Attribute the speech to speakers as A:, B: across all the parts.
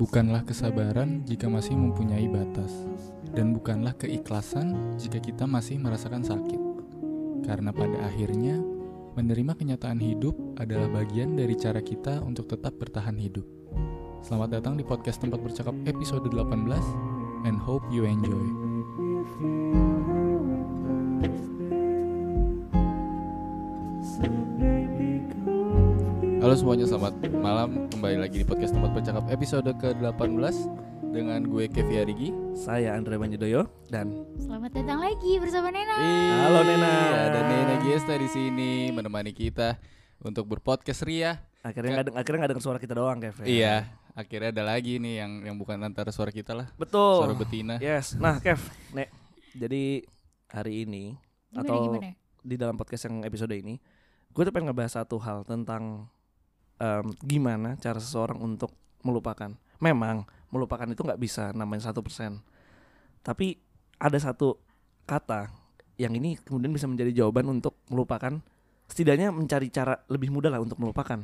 A: Bukanlah kesabaran jika masih mempunyai batas, dan bukanlah keikhlasan jika kita masih merasakan sakit, karena pada akhirnya menerima kenyataan hidup adalah bagian dari cara kita untuk tetap bertahan hidup. Selamat datang di podcast tempat bercakap episode 18, and hope you enjoy. Halo semuanya, selamat malam. Kembali lagi di podcast tempat bercakap episode ke-18 dengan gue Kevi Arigi.
B: Saya Andre Banyedoyo dan
C: Selamat datang lagi bersama
B: Iya,
C: Nena.
B: Halo, Nena.
A: Iya, Ada Nena Giesta di sini menemani kita untuk berpodcast Ria.
B: akhirnya nggak deng- akhirnya nggak dengar suara kita doang, Kev. ya?
A: Iya, akhirnya ada lagi nih yang yang bukan antara suara kita lah,
B: Betul.
A: suara betina.
B: Yes. Nah, Kev, Nek. Jadi hari ini
C: Gimana
B: atau
C: gimana?
B: di dalam podcast yang episode ini, gue tuh pengen ngebahas satu hal tentang em, gimana cara seseorang untuk melupakan. Memang melupakan itu nggak bisa namanya satu persen, tapi ada satu kata yang ini kemudian bisa menjadi jawaban untuk melupakan. Setidaknya mencari cara lebih mudah lah untuk melupakan.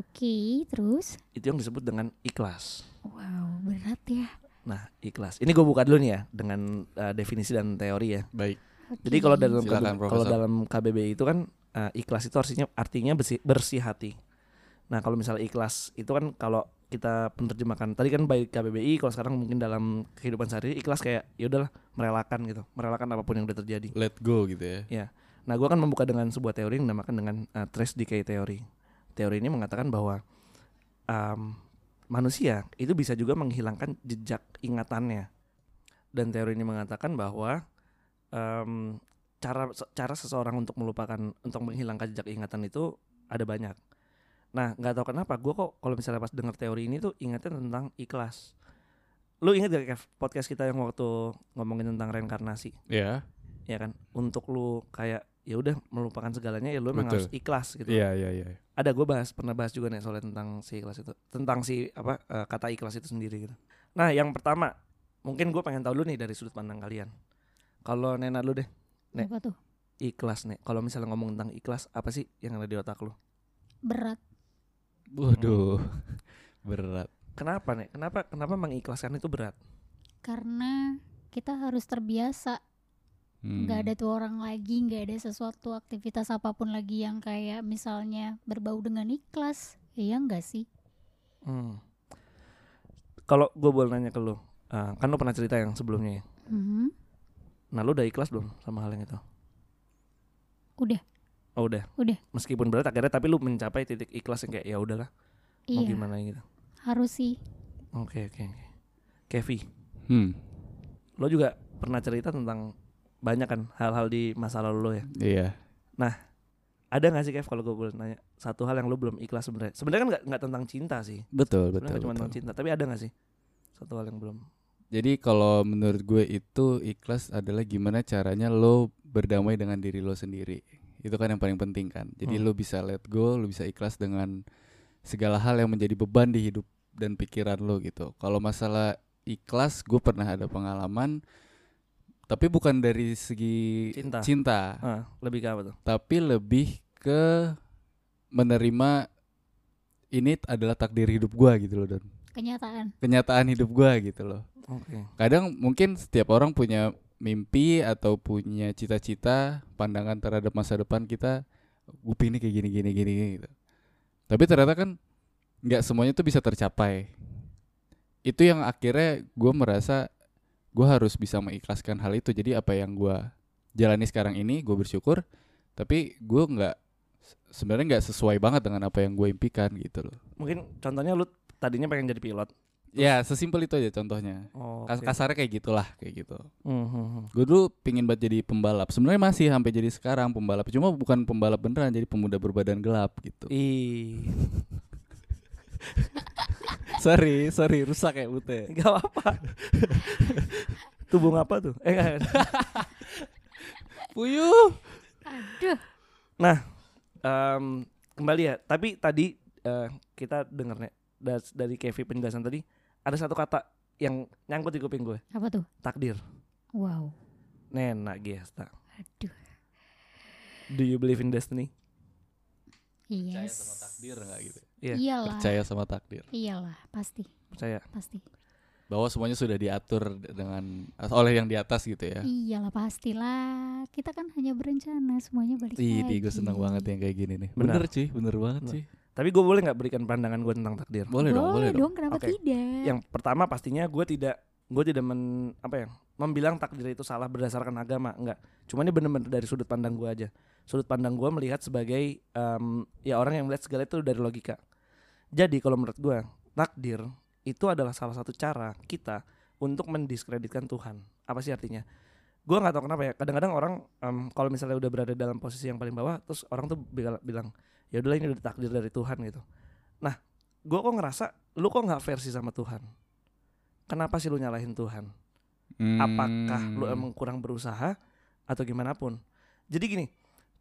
C: Oke, terus.
B: Itu yang disebut dengan ikhlas.
C: Wow, berat ya.
B: Nah, ikhlas. Ini gue buka dulu nih ya dengan uh, definisi dan teori ya.
A: Baik.
C: Oke.
B: Jadi kalau dalam
A: Hmm, Silakan,
B: KBBI kalau
A: Profesor.
B: dalam KBBI itu kan uh, ikhlas itu artinya artinya bersih, bersih hati. Nah, kalau misalnya ikhlas itu kan kalau kita penerjemahkan tadi kan baik KBBI kalau sekarang mungkin dalam kehidupan sehari ikhlas kayak ya udahlah merelakan gitu, merelakan apapun yang udah terjadi.
A: Let go gitu ya.
B: Nah, gua akan membuka dengan sebuah teori yang dinamakan dengan uh, Trace Decay Theory. Teori ini mengatakan bahwa um, manusia itu bisa juga menghilangkan jejak ingatannya. Dan teori ini mengatakan bahwa um, cara cara seseorang untuk melupakan untuk menghilangkan jejak ingatan itu ada banyak. Nah, nggak tahu kenapa gua kok kalau misalnya pas dengar teori ini tuh ingatnya tentang ikhlas. Lu ingat gak Kev, podcast kita yang waktu ngomongin tentang reinkarnasi?
A: Iya.
B: ya kan untuk lu kayak ya udah melupakan segalanya ya lu memang
A: Betul.
B: harus ikhlas gitu
A: Iya, iya, iya.
B: ada gue bahas pernah bahas juga nih soalnya tentang si ikhlas itu tentang si apa eh, kata ikhlas itu sendiri gitu nah yang pertama mungkin gue pengen tahu dulu nih dari sudut pandang kalian kalau Nena lu deh Nek.
C: apa tuh?
B: ikhlas nih kalau misalnya ngomong tentang ikhlas apa sih yang ada di otak lu
C: Berat.
A: Waduh. Hmm. Berat.
B: kenapa nih kenapa kenapa mengikhlaskan itu berat
C: Karena kita harus terbiasa.
A: Hmm.
C: Nggak ada tuh orang lagi, nggak ada sesuatu aktivitas apapun lagi yang kayak misalnya berbau dengan ikhlas. Iya nggak sih?
B: hmm. kalau gue boleh nanya ke lu eh, kan lu pernah cerita yang sebelumnya ya?
C: Mhm.
B: nah lu udah ikhlas belum sama hal yang itu
C: Udah.
B: Oh udah.
C: Udah.
B: Meskipun berat akhirnya tapi lu mencapai titik ikhlas yang kayak ya udahlah mau
C: Iya,
B: gimana gitu.
C: harus sih.
B: Oke oke oke. Kevi,
A: Hmm.
B: lo juga pernah cerita tentang banyak kan hal-hal di masa lalu lo ya.
A: Iya.
B: Ada nggak sih Kev kalau gue boleh nanya satu hal yang lo belum ikhlas sebenarnya? Sebenarnya kan nggak nggak tentang cinta sih. Sebenarnya
A: Betul, betul.
B: nggak cuma
A: betul.
B: tentang cinta. Tapi ada nggak sih satu hal yang belum?
A: Jadi kalau menurut gue itu ikhlas adalah gimana caranya lo berdamai dengan diri lo sendiri. Itu kan yang paling penting kan.
B: Hmm.
A: Jadi lo bisa let go, lo bisa ikhlas dengan segala hal yang menjadi beban di hidup dan pikiran lo gitu. Kalau masalah ikhlas, gue pernah ada pengalaman, tapi bukan dari segi
B: Cinta. Ah, lebih ke apa tuh?
A: tapi lebih ke menerima ini adalah takdir hidup gue gitu loh dan
C: Kenyataan.
A: kenyataan hidup gue gitu loh
B: Oke.
A: kadang mungkin setiap orang punya mimpi atau punya cita-cita pandangan terhadap masa depan kita gue ini kayak gini gini gini gini," gitu tapi ternyata kan nggak semuanya tuh bisa tercapai itu yang akhirnya gue merasa gue harus bisa mengikhlaskan hal itu jadi apa yang gue jalani sekarang ini gue bersyukur tapi gue nggak sebenarnya nggak sesuai banget dengan apa yang gue impikan gitu loh
B: Mungkin contohnya lu tadinya pengen jadi pilot.
A: ya sesimpel itu aja contohnya
B: Oh.
A: Kas- kasarnya kayak gitulah kayak gitu
B: Mhm.
A: Gue dulu pingin banget jadi pembalap. Sebenarnya masih sampai jadi sekarang pembalap. Cuma bukan pembalap beneran, jadi pemuda berbadan gelap gitu.
B: Ih,
A: sorry, sorry, rusak ya Ute.
B: nggak apa-apa. Tubuh apa tuh? Eh, nggak, nggak.
A: Puyuh.
C: Aduh.
B: Em, kembali ya tapi tadi eh, kita dengar Nek, das- dari Kevin penjelasan tadi ada satu kata yang nyangkut di kuping gue
C: Apa tuh?
B: takdir
C: Wow.
B: Nena Gesta
C: Aduh.
B: do you believe in destiny
C: Yes.
A: takdir nggak gitu?
B: Iya,
C: Iyalah.
A: percaya sama takdir
C: Iyalah, pasti,
B: percaya
C: pasti.
A: bahwa semuanya sudah diatur dengan oleh yang di atas gitu ya
C: Iyalah, pastilah. Kita kan hanya berencana, semuanya balik
A: Ih,
C: lagi.
A: gue seneng banget yang kayak gini nih.
B: Benar.
A: Bener, sih, bener banget
B: Benar.
A: sih.
B: tapi gue boleh nggak berikan pandangan gue tentang takdir
A: Boleh, dong, boleh dong.
C: kenapa
B: Oke.
C: tidak?
B: yang pertama pastinya gue tidak gue tidak men apa ya membilang takdir itu salah berdasarkan agama enggak cuma ini bener-bener dari sudut pandang gue aja sudut pandang gue melihat sebagai em, ya orang yang melihat segala itu dari logika jadi kalau menurut gue takdir itu adalah salah satu cara kita untuk mendiskreditkan Tuhan apa sih artinya gue nggak tahu kenapa ya kadang-kadang orang em, kalau misalnya udah berada dalam posisi yang paling bawah terus orang tuh bila- bilang ya udahlah ini udah takdir dari Tuhan gitu nah gue kok ngerasa lu kok nggak versi sama Tuhan kenapa sih lu nyalahin Tuhan apakah lu
A: Hmm.
B: emang kurang berusaha atau gimana pun jadi gini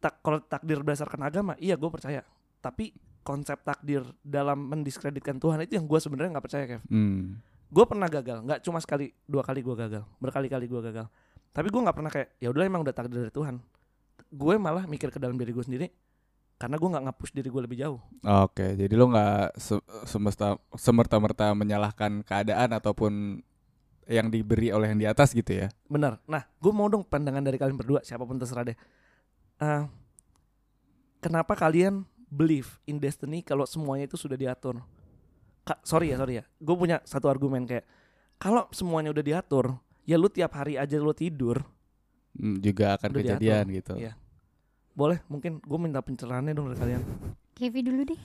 B: tak kalau takdir berdasarkan agama iya gue percaya tapi konsep takdir dalam mendiskreditkan Tuhan itu yang gue sebenarnya nggak percaya Kev
A: Hmm.
B: gue pernah gagal nggak cuma sekali dua kali gue gagal berkali-kali gue gagal tapi gue nggak pernah kayak ya udah emang udah takdir dari Tuhan gue malah mikir ke dalam diri gue sendiri karena gue nggak ngapus diri gue lebih jauh
A: Oke, jadi lu nggak se- semesta semerta-merta menyalahkan keadaan ataupun yang diberi oleh yang di atas gitu ya?
B: Benar. Nah, gue mau dong pandangan dari kalian berdua, siapapun terserah deh. Eh, kenapa kalian believe in destiny kalau semuanya itu sudah diatur? Ka- sorry ya, sorry ya. Gue punya satu argumen kayak kalau semuanya udah diatur, ya lu tiap hari aja lu tidur,
A: Hmm, juga akan
B: Udah diatur.
A: kejadian gitu.
B: Iya. boleh mungkin gue minta pencerahannya dong dari kalian.
C: Kevin dulu deh.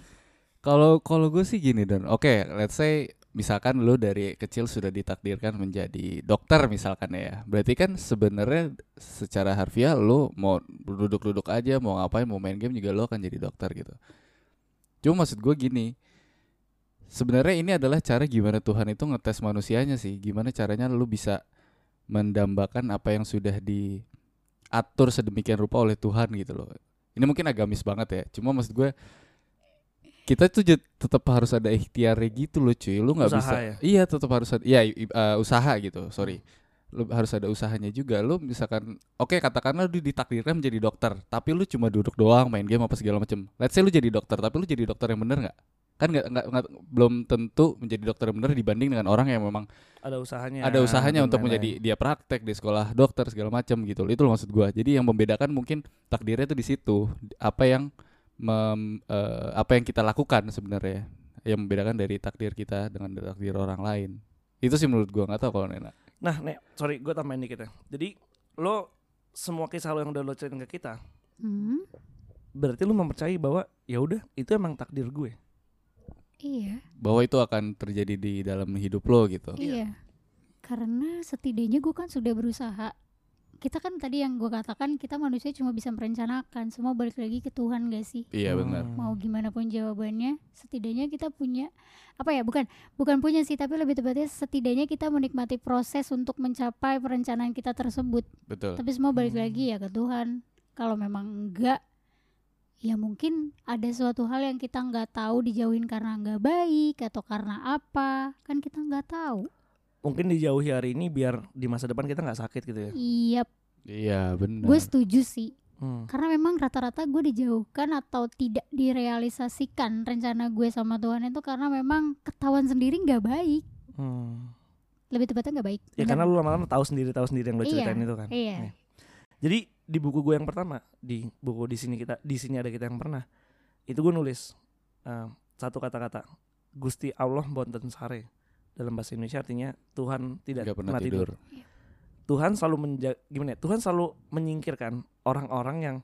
A: Kalau kalau gue sih gini Don. Oke, let's say misalkan lu dari kecil sudah ditakdirkan menjadi dokter misalkan ya. Berarti kan sebenarnya secara harfiah lu mau duduk-duduk aja, mau ngapain, mau main game juga lu akan jadi dokter gitu. Cuma maksud gue gini. Sebenarnya ini adalah cara gimana Tuhan itu ngetes manusianya sih. Gimana caranya lu bisa mendambakan apa yang sudah diatur sedemikian rupa oleh Tuhan gitu loh. Ini mungkin agamis banget ya. Cuma maksud gue kita tuh jut- tetap harus ada ikhtiarnya gitu loh cuy. Lu nggak
B: Usaha
A: bisa.
B: ya?
A: Iya, tetap harus ada iya i- eh, usaha gitu. Sorry. Lu harus ada usahanya juga. Lu misalkan oke katakanlah lu ditakdirkan menjadi dokter, tapi lu cuma duduk doang main game apa segala macem Let's say lu jadi dokter, tapi lu jadi dokter yang bener nggak? Kan nggak nggak- nggak- belum tentu menjadi dokter yang bener dibanding dengan orang yang memang
B: Ada usahanya.
A: ada usahanya
B: dan
A: untuk
B: lain-lain.
A: menjadi dia praktek di sekolah dokter segala macam gitu loh. itu loh maksud gua jadi yang membedakan mungkin takdirnya itu di situ apa yang mem- eh, apa yang kita lakukan sebenarnya yang membedakan dari takdir kita dengan takdir orang lain itu sih menurut gua nggak tahu kalau Nena
B: Nah, Nek, sorry gue tambahin dikit ya. Jadi lo semua kisah lo yang udah lo ceritain ke kita,
C: Hmm,
B: berarti lo mempercayai bahwa ya udah itu emang takdir gue.
C: iya,
A: bahwa itu akan terjadi di dalam hidup lo gitu
C: iya. Karena setidaknya gue kan sudah berusaha. Kita kan tadi yang gue katakan kita manusia cuma bisa merencanakan, semua balik lagi ke Tuhan gak sih?
A: iya benar
B: Hmm.
C: Mau gimana pun jawabannya, setidaknya kita punya apa ya? Bukan, bukan punya sih, tapi lebih tepatnya setidaknya kita menikmati proses untuk mencapai perencanaan kita tersebut.
A: betul
C: Tapi semua balik
B: Hmm.
C: lagi ya ke Tuhan. Kalau memang enggak, ya mungkin ada suatu hal yang kita nggak tahu dijauhin karena nggak baik atau karena apa, kan kita nggak tahu.
B: mungkin dijauhi hari ini biar di masa depan kita nggak sakit gitu ya.
C: Iya,
A: iya benar
C: gue setuju sih.
B: Hmm,
C: Karena memang rata-rata gue dijauhkan atau tidak direalisasikan rencana gue sama Tuhan itu karena memang ketahuan sendiri nggak baik. Lebih tepatnya nggak baik.
B: hmm. Ya
C: Bener.
B: karena lu lama-lama tahu sendiri tahu sendiri yang lu
C: Iya,
B: ceritain itu kan.
C: Iya.
B: Iya. Jadi di buku gue yang pertama di buku di sini kita di sini ada kita yang pernah itu gue nulis eh, satu kata-kata Gusti Allah Bonten Sare dalam bahasa Indonesia artinya Tuhan tidak
A: nggak pernah tidur,
B: Tuhan selalu menja- gimana ya? Tuhan selalu menyingkirkan orang-orang yang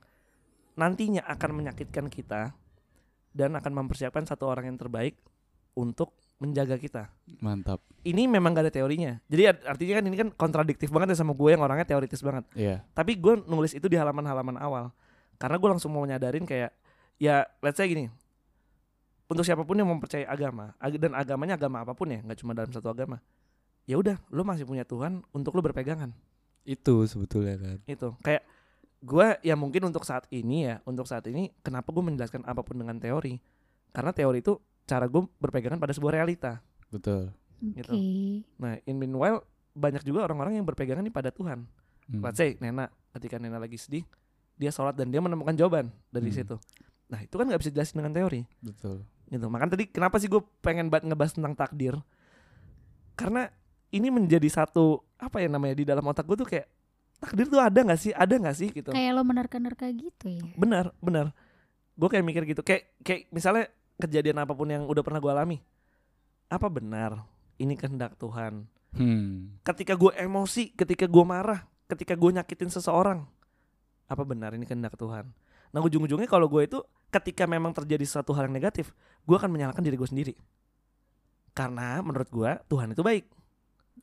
B: nantinya akan menyakitkan kita dan akan mempersiapkan satu orang yang terbaik untuk menjaga kita.
A: mantap
B: Ini memang gak ada teorinya. Jadi art- artinya kan ini kan kontradiktif banget ya sama gue yang orangnya teoritis banget.
A: iya
B: Tapi gue nulis itu di halaman-halaman awal karena gue langsung mau nyadarin kayak ya let's say gini. Untuk siapapun yang mempercayai agama ag- dan agamanya agama apapun ya, nggak cuma dalam satu agama. Ya udah, lu masih punya Tuhan untuk lu berpegangan
A: itu sebetulnya kan
B: itu kayak gue ya mungkin untuk saat ini ya untuk saat ini kenapa gue menjelaskan apapun dengan teori karena teori itu cara gue berpegangan pada sebuah realita
A: betul
C: Oke.
B: Gitu. nah in meanwhile banyak juga orang-orang yang berpegangan nih pada Tuhan
A: Hmm.
B: let's say Nena ketika Nena lagi sedih dia sholat dan dia menemukan jawaban dari
A: Hmm.
B: situ nah itu kan nggak bisa jelasin dengan teori
A: betul
B: gitu makanya tadi kenapa sih gue pengen banget ngebahas tentang takdir karena ini menjadi satu apa ya namanya di dalam otak gue tuh kayak takdir tuh ada nggak sih ada nggak sih gitu
C: Kayak lo menerka-nerka gitu ya.
B: benar benar gue kayak mikir gitu kayak kayak misalnya kejadian apapun yang udah pernah gue alami apa benar ini kehendak Tuhan
A: Hmm.
B: ketika gue emosi, ketika gue marah, ketika gue nyakitin seseorang, apa benar ini kehendak Tuhan? Nah ujung-ujungnya kalau gue itu ketika memang terjadi sesuatu hal yang negatif, gue akan menyalahkan diri gue sendiri. Karena menurut gue Tuhan itu baik.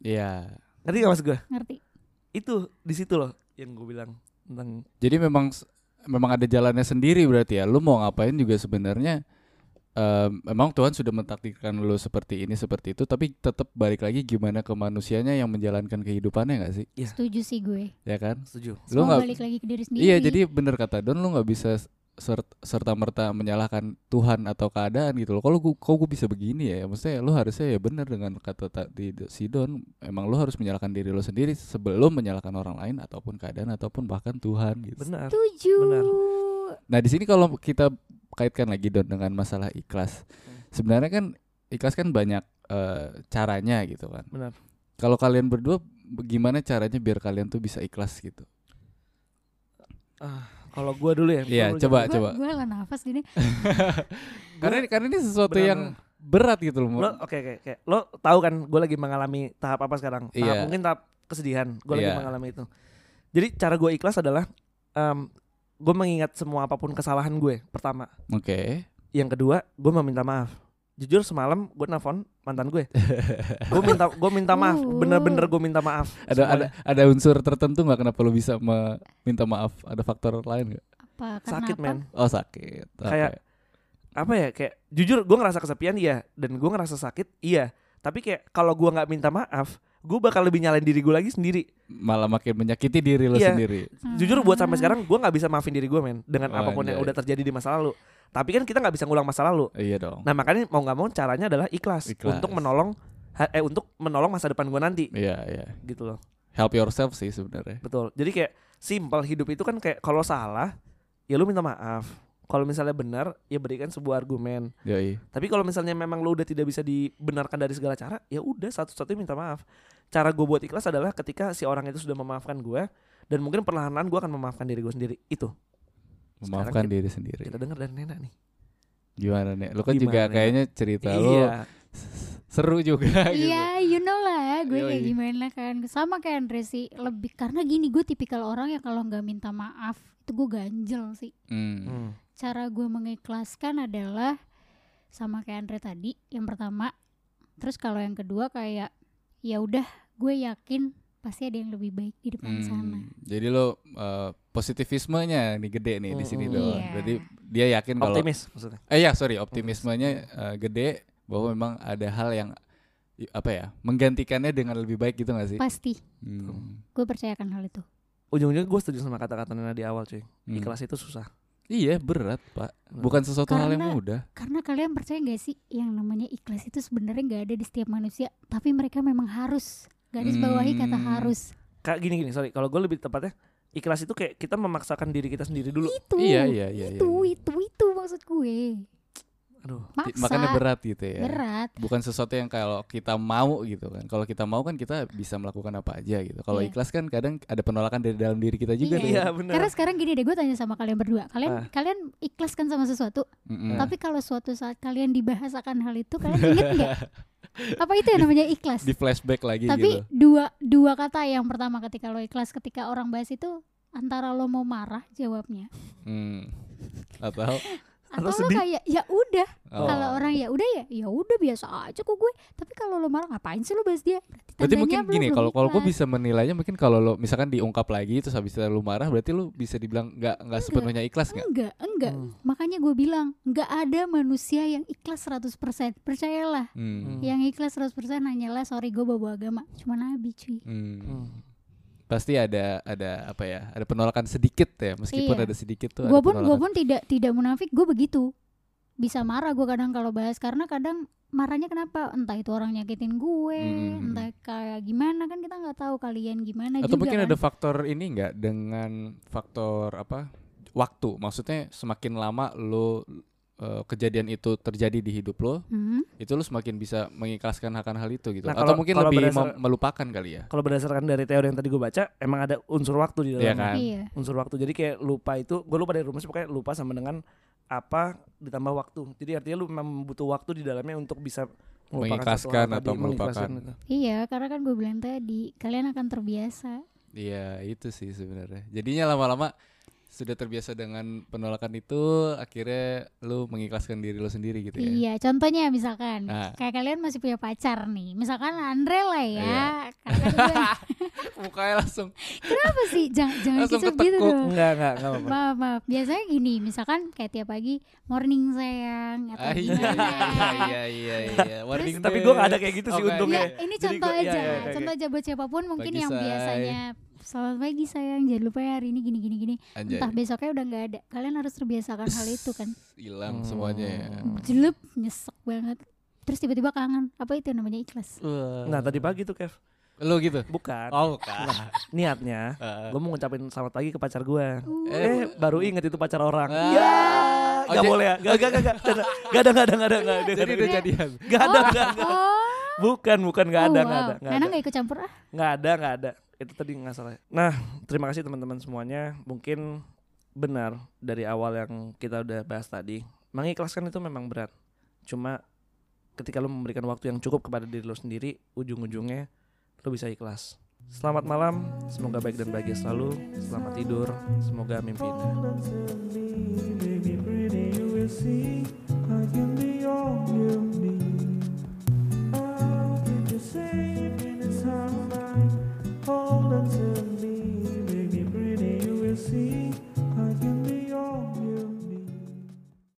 A: Iya.
B: Ngerti gak mas gue?
C: Ngerti?
B: Itu di situ loh yang gue bilang tentang
A: Jadi memang s- memang ada jalannya sendiri berarti ya. Lu mau ngapain juga sebenarnya em, memang Tuhan sudah mentakdirkan lu seperti ini seperti itu tapi tetap balik lagi gimana ke manusianya yang menjalankan kehidupannya nggak sih?
C: Setuju sih gue.
A: Ya kan?
B: setuju.
A: Lu
C: Semua
A: nggak-
C: Oh, balik lagi ke diri sendiri.
A: Iya, jadi bener kata Don lu nggak bisa serta merta menyalahkan Tuhan atau keadaan gitu loh. Kalau gua kok gua bisa begini ya, maksudnya lu harusnya ya bener dengan kata tadi si Don, emang lu harus menyalahkan diri lu sendiri sebelum menyalahkan orang lain ataupun keadaan ataupun bahkan Tuhan gitu.
B: Benar.
C: Setuju.
B: Benar.
A: Nah, di sini kalau kita kaitkan lagi Don dengan masalah ikhlas. Sebenarnya kan ikhlas kan banyak eh, caranya gitu kan.
B: Benar.
A: Kalau kalian berdua gimana caranya biar kalian tuh bisa ikhlas gitu?
B: Kalau gue dulu ya.
A: Iya,
B: lu
A: coba
B: jangan-
A: coba.
C: Gue lah nafas gini.
A: Karena ini, karena ini sesuatu
B: Benar,
A: yang berat gitu loh.
B: Lo oke oke oke. Lo tahu kan gue lagi mengalami tahap apa sekarang? Tahap
A: Iya.
B: mungkin tahap kesedihan. Gue
A: Iya.
B: lagi mengalami itu. Jadi cara gue ikhlas adalah gue mengingat semua apapun kesalahan gue pertama.
A: Oke.
B: Yang kedua, gue meminta maaf. Jujur semalam gue nelfon mantan gue. gue minta gue minta maaf.
C: Uh.
B: Bener-bener gue minta maaf.
A: Ada ada
B: semuanya.
A: ada unsur tertentu nggak kenapa lu bisa me- minta maaf? Ada faktor lain nggak?
C: Apa? Karena
B: sakit
C: apa?
B: men.
A: Oh sakit. Oke.
B: Kayak- Apa ya kayak jujur gue ngerasa kesepian iya dan gue ngerasa sakit iya. Tapi kayak kalau gue nggak minta maaf, gue bakal lebih nyalain diri gue lagi sendiri.
A: malah makin menyakiti diri lu
B: Iya.
A: sendiri.
C: Hmm.
B: jujur buat sampai sekarang gue nggak bisa maafin diri gue men dengan
A: Hmm. Oh,
B: apapun yang
A: anjay.
B: udah terjadi di masa lalu tapi kan kita nggak bisa ngulang masa lalu
A: Iya dong.
B: nah makanya mau nggak mau caranya adalah ikhlas,
A: Ikhlas.
B: untuk menolong ha- eh untuk menolong masa depan gue nanti
A: Iya iya.
B: gitu loh
A: Help yourself sih sebenarnya.
B: betul jadi kayak simpel hidup itu kan kayak kalau salah ya lu minta maaf kalau misalnya benar ya berikan sebuah argumen
A: Yoi.
B: tapi kalau misalnya memang lu udah tidak bisa dibenarkan dari segala cara ya udah satu-satunya minta maaf cara gue buat ikhlas adalah ketika si orang itu sudah memaafkan gue dan mungkin perlahan-lahan gue akan memaafkan diri gue sendiri itu
A: Memaafkan
B: kita-
A: diri sendiri.
B: kita dengar dari nenek nih
A: Gimana nih? Lu
B: Gimana
A: kan
B: Iya.
A: juga
B: ya?
A: kayaknya cerita lu s- seru juga gitu.
C: Iya, you know lah, gue kayak
A: Yoi.
C: gimana kan. Sama kayak Andre sih, lebih karena gini gue tipikal orang ya kalau nggak minta maaf itu gue ganjel sih.
A: Hmm.
B: Hmm.
C: Cara gue mengikhlaskan adalah sama kayak Andre tadi, yang pertama. Terus kalau yang kedua kayak ya udah, gue yakin pasti ada yang lebih baik di depan
A: Hmm.
C: sana.
A: Jadi lo eh, positivismenya nih gede nih di sini
B: Mm-mm.
A: dong.
C: Iya.
A: Jadi dia yakin kalau
B: Optimis maksudnya.
A: eh ya sorry optimismenya eh, gede bahwa memang ada hal yang i- apa ya menggantikannya dengan lebih baik gitu gak sih?
C: Pasti,
A: Hmm.
C: gue percayakan hal itu.
B: Ujung-ujungnya gue setuju sama kata-kata Nena di awal cuy.
A: Hmm.
B: Ikhlas itu susah.
A: Iya berat pak.
B: Berat.
A: Bukan sesuatu hal yang
C: Karena-
A: mudah.
C: Karena kalian percaya gak sih yang namanya ikhlas itu sebenarnya nggak ada di setiap manusia, tapi mereka memang harus. Garis bawahi kata
A: Hmm.
C: harus.
B: Kayak gini-gini, sorry. Kalau gue lebih tepatnya, ikhlas itu kayak kita memaksakan diri kita sendiri dulu.
C: Itu.
A: Iya iya iya. iya.
C: itu itu itu maksud gue
B: Aduh.
A: Ti-
C: maksa
A: Makanya berat gitu ya.
C: berat
A: Bukan sesuatu yang kalau kita mau gitu kan. Kalau kita mau kan kita bisa melakukan apa aja gitu. Kalau
C: Iya.
A: ikhlas kan kadang ada penolakan dari dalam diri kita juga tuh.
C: Iya.
B: Iya benar.
C: karena sekarang gini deh gue tanya sama kalian berdua kalian
B: Ah.
C: kalian ikhlas kan sama sesuatu
A: Mm-mm.
C: tapi kalau suatu saat kalian dibahas akan hal itu kalian inget nggak apa itu yang namanya ikhlas
A: Di flashback lagi
C: tapi
A: gitu.
C: dua dua kata yang pertama ketika lo ikhlas ketika orang bahas itu antara lo mau marah jawabnya
A: Hmm. Atau
C: atau,
B: Atau
C: lo
B: sedih.
C: kayak ya udah
A: oh.
C: kalau orang ya udah ya ya udah biasa aja kok gue tapi kalau lo marah ngapain sih lo bahas dia
A: Berarti
C: berarti, tandanya
A: mungkin
C: lo
A: gini
C: belum
A: kalau kalau gue
C: ikhlas.
A: bisa menilainya mungkin kalau lo misalkan diungkap lagi terus habis itu lu marah berarti lu bisa dibilang nggak nggak sepenuhnya ikhlas nggak?
C: enggak enggak
B: Hmm.
C: Makanya gue bilang, nggak ada manusia yang ikhlas 100%. Percayalah,
B: Hmm.
A: Hmm.
C: yang ikhlas 100% hanyalah sorry gue bawa agama. Cuma nabi cuy.
A: Hmm.
B: Hmm.
A: Pasti ada ada apa ya? Ada penolakan sedikit ya meskipun
C: Iya.
A: ada sedikit tuh. ada
C: Gue pun gue
A: penolakan.
C: pun tidak tidak munafik, gue begitu. Bisa marah gue kadang kalau bahas karena kadang marahnya kenapa? Entah itu orang nyakitin gue,
A: Hmm.
C: entah kayak gimana kan kita nggak tahu kalian gimana
A: Atau
C: juga.
A: mungkin
C: kan.
A: ada faktor ini nggak dengan faktor apa? Waktu. Maksudnya semakin lama lo eh, kejadian itu terjadi di hidup lo,
C: Hmm.
A: itu lo semakin bisa mengikhlaskan akan hal itu gitu.
B: Nah,
A: Atau
B: kalau-
A: mungkin
B: kalau
A: lebih
B: berdasar-
A: mem- melupakan kali ya.
B: Kalau berdasarkan dari teori yang tadi gue baca, emang ada unsur waktu di
A: Iya
B: dalamnya.
A: kan?
C: Iya.
B: unsur waktu jadi kayak lupa itu gue lupa dari rumus pokoknya lupa sama dengan apa ditambah waktu jadi artinya lu memang butuh waktu di dalamnya untuk bisa melupakan suatu hal
A: Mengikhlaskan
B: tadi,
A: atau melupakan.
B: mengikhlaskan gitu. itu.
C: Iya, karena kan gue bilang tadi kalian akan terbiasa.
A: Iya, itu sih sebenarnya. Jadinya lama-lama sudah terbiasa dengan penolakan itu, akhirnya lo mengikhlaskan diri lo sendiri gitu ya.
C: Iya, contohnya misalkan
A: Nah.
C: kayak kalian masih punya pacar nih. Misalkan Andre lah ya.
A: Iya.
C: Karena kan gue,
A: Mukanya langsung
C: apa sih? Jangan jangan
A: Langsung
C: kicau gitu
A: ketekuk.
C: dong.
B: enggak enggak enggak apa-apa
C: Maaf, maaf. Biasanya gini, misalkan kayak tiap pagi morning sayang atau
A: Ah, iya,
C: gimana.
A: iya, iya, iya, iya. Warning
B: tapi gue
A: bell.
B: nggak ada kayak gitu sih
A: Oke,
B: untungnya
A: oke.
C: Iya, ini
B: Jadi
C: contoh
B: gua- iya,
C: aja,
B: iya, iya,
C: contoh aja buat siapapun mungkin
A: Pagi,
C: yang
A: Say.
C: biasanya selamat pagi sayang, jangan lupa ya hari ini gini gini gini.
A: Anjay.
C: Entah besoknya udah nggak ada. Kalian harus terbiasakan hal itu kan.
A: Hilang semuanya ya.
B: Hmm.
C: Jelup, nyesek banget. Terus tiba-tiba kangen. Apa itu namanya ikhlas?
A: Iya.
B: nah tadi pagi tuh Kev
A: Lo gitu? Nah,
B: bukan
A: Oh, bukan.
B: niatnya
A: Heeh.
B: gue mau ngucapin selamat pagi ke pacar gue
C: Uh,
B: eh baru inget itu pacar orang
A: Ah.
B: ya
A: Oh,
B: nggak
A: jadi-
B: boleh ya nggak nggak nggak nggak ada nggak ada nggak ada nggak ada nggak ada,
A: Jadi
B: nggak ada
A: udah jadian.
B: nggak ada nggak ada.
C: oh,
B: bukan bukan nggak ada
C: oh,
B: nggak
C: wow.
B: ada nggak
C: Nana
B: ada
C: nggak ikut campur ah?
B: Nggak ada, nggak ada. Itu tadi nggak salah. Nah, terima kasih teman-teman semuanya. Mungkin benar dari awal yang kita udah bahas tadi. Mengikhlaskan itu memang berat. Cuma ketika lu memberikan waktu yang cukup kepada diri lu sendiri, ujung-ujungnya lu bisa ikhlas. Selamat malam, semoga baik dan bahagia selalu. Selamat tidur, semoga mimpi indah.
D: Baby, pretty, you will see. I can be all you need. I'll keep you safe in his arms. Hold on to me.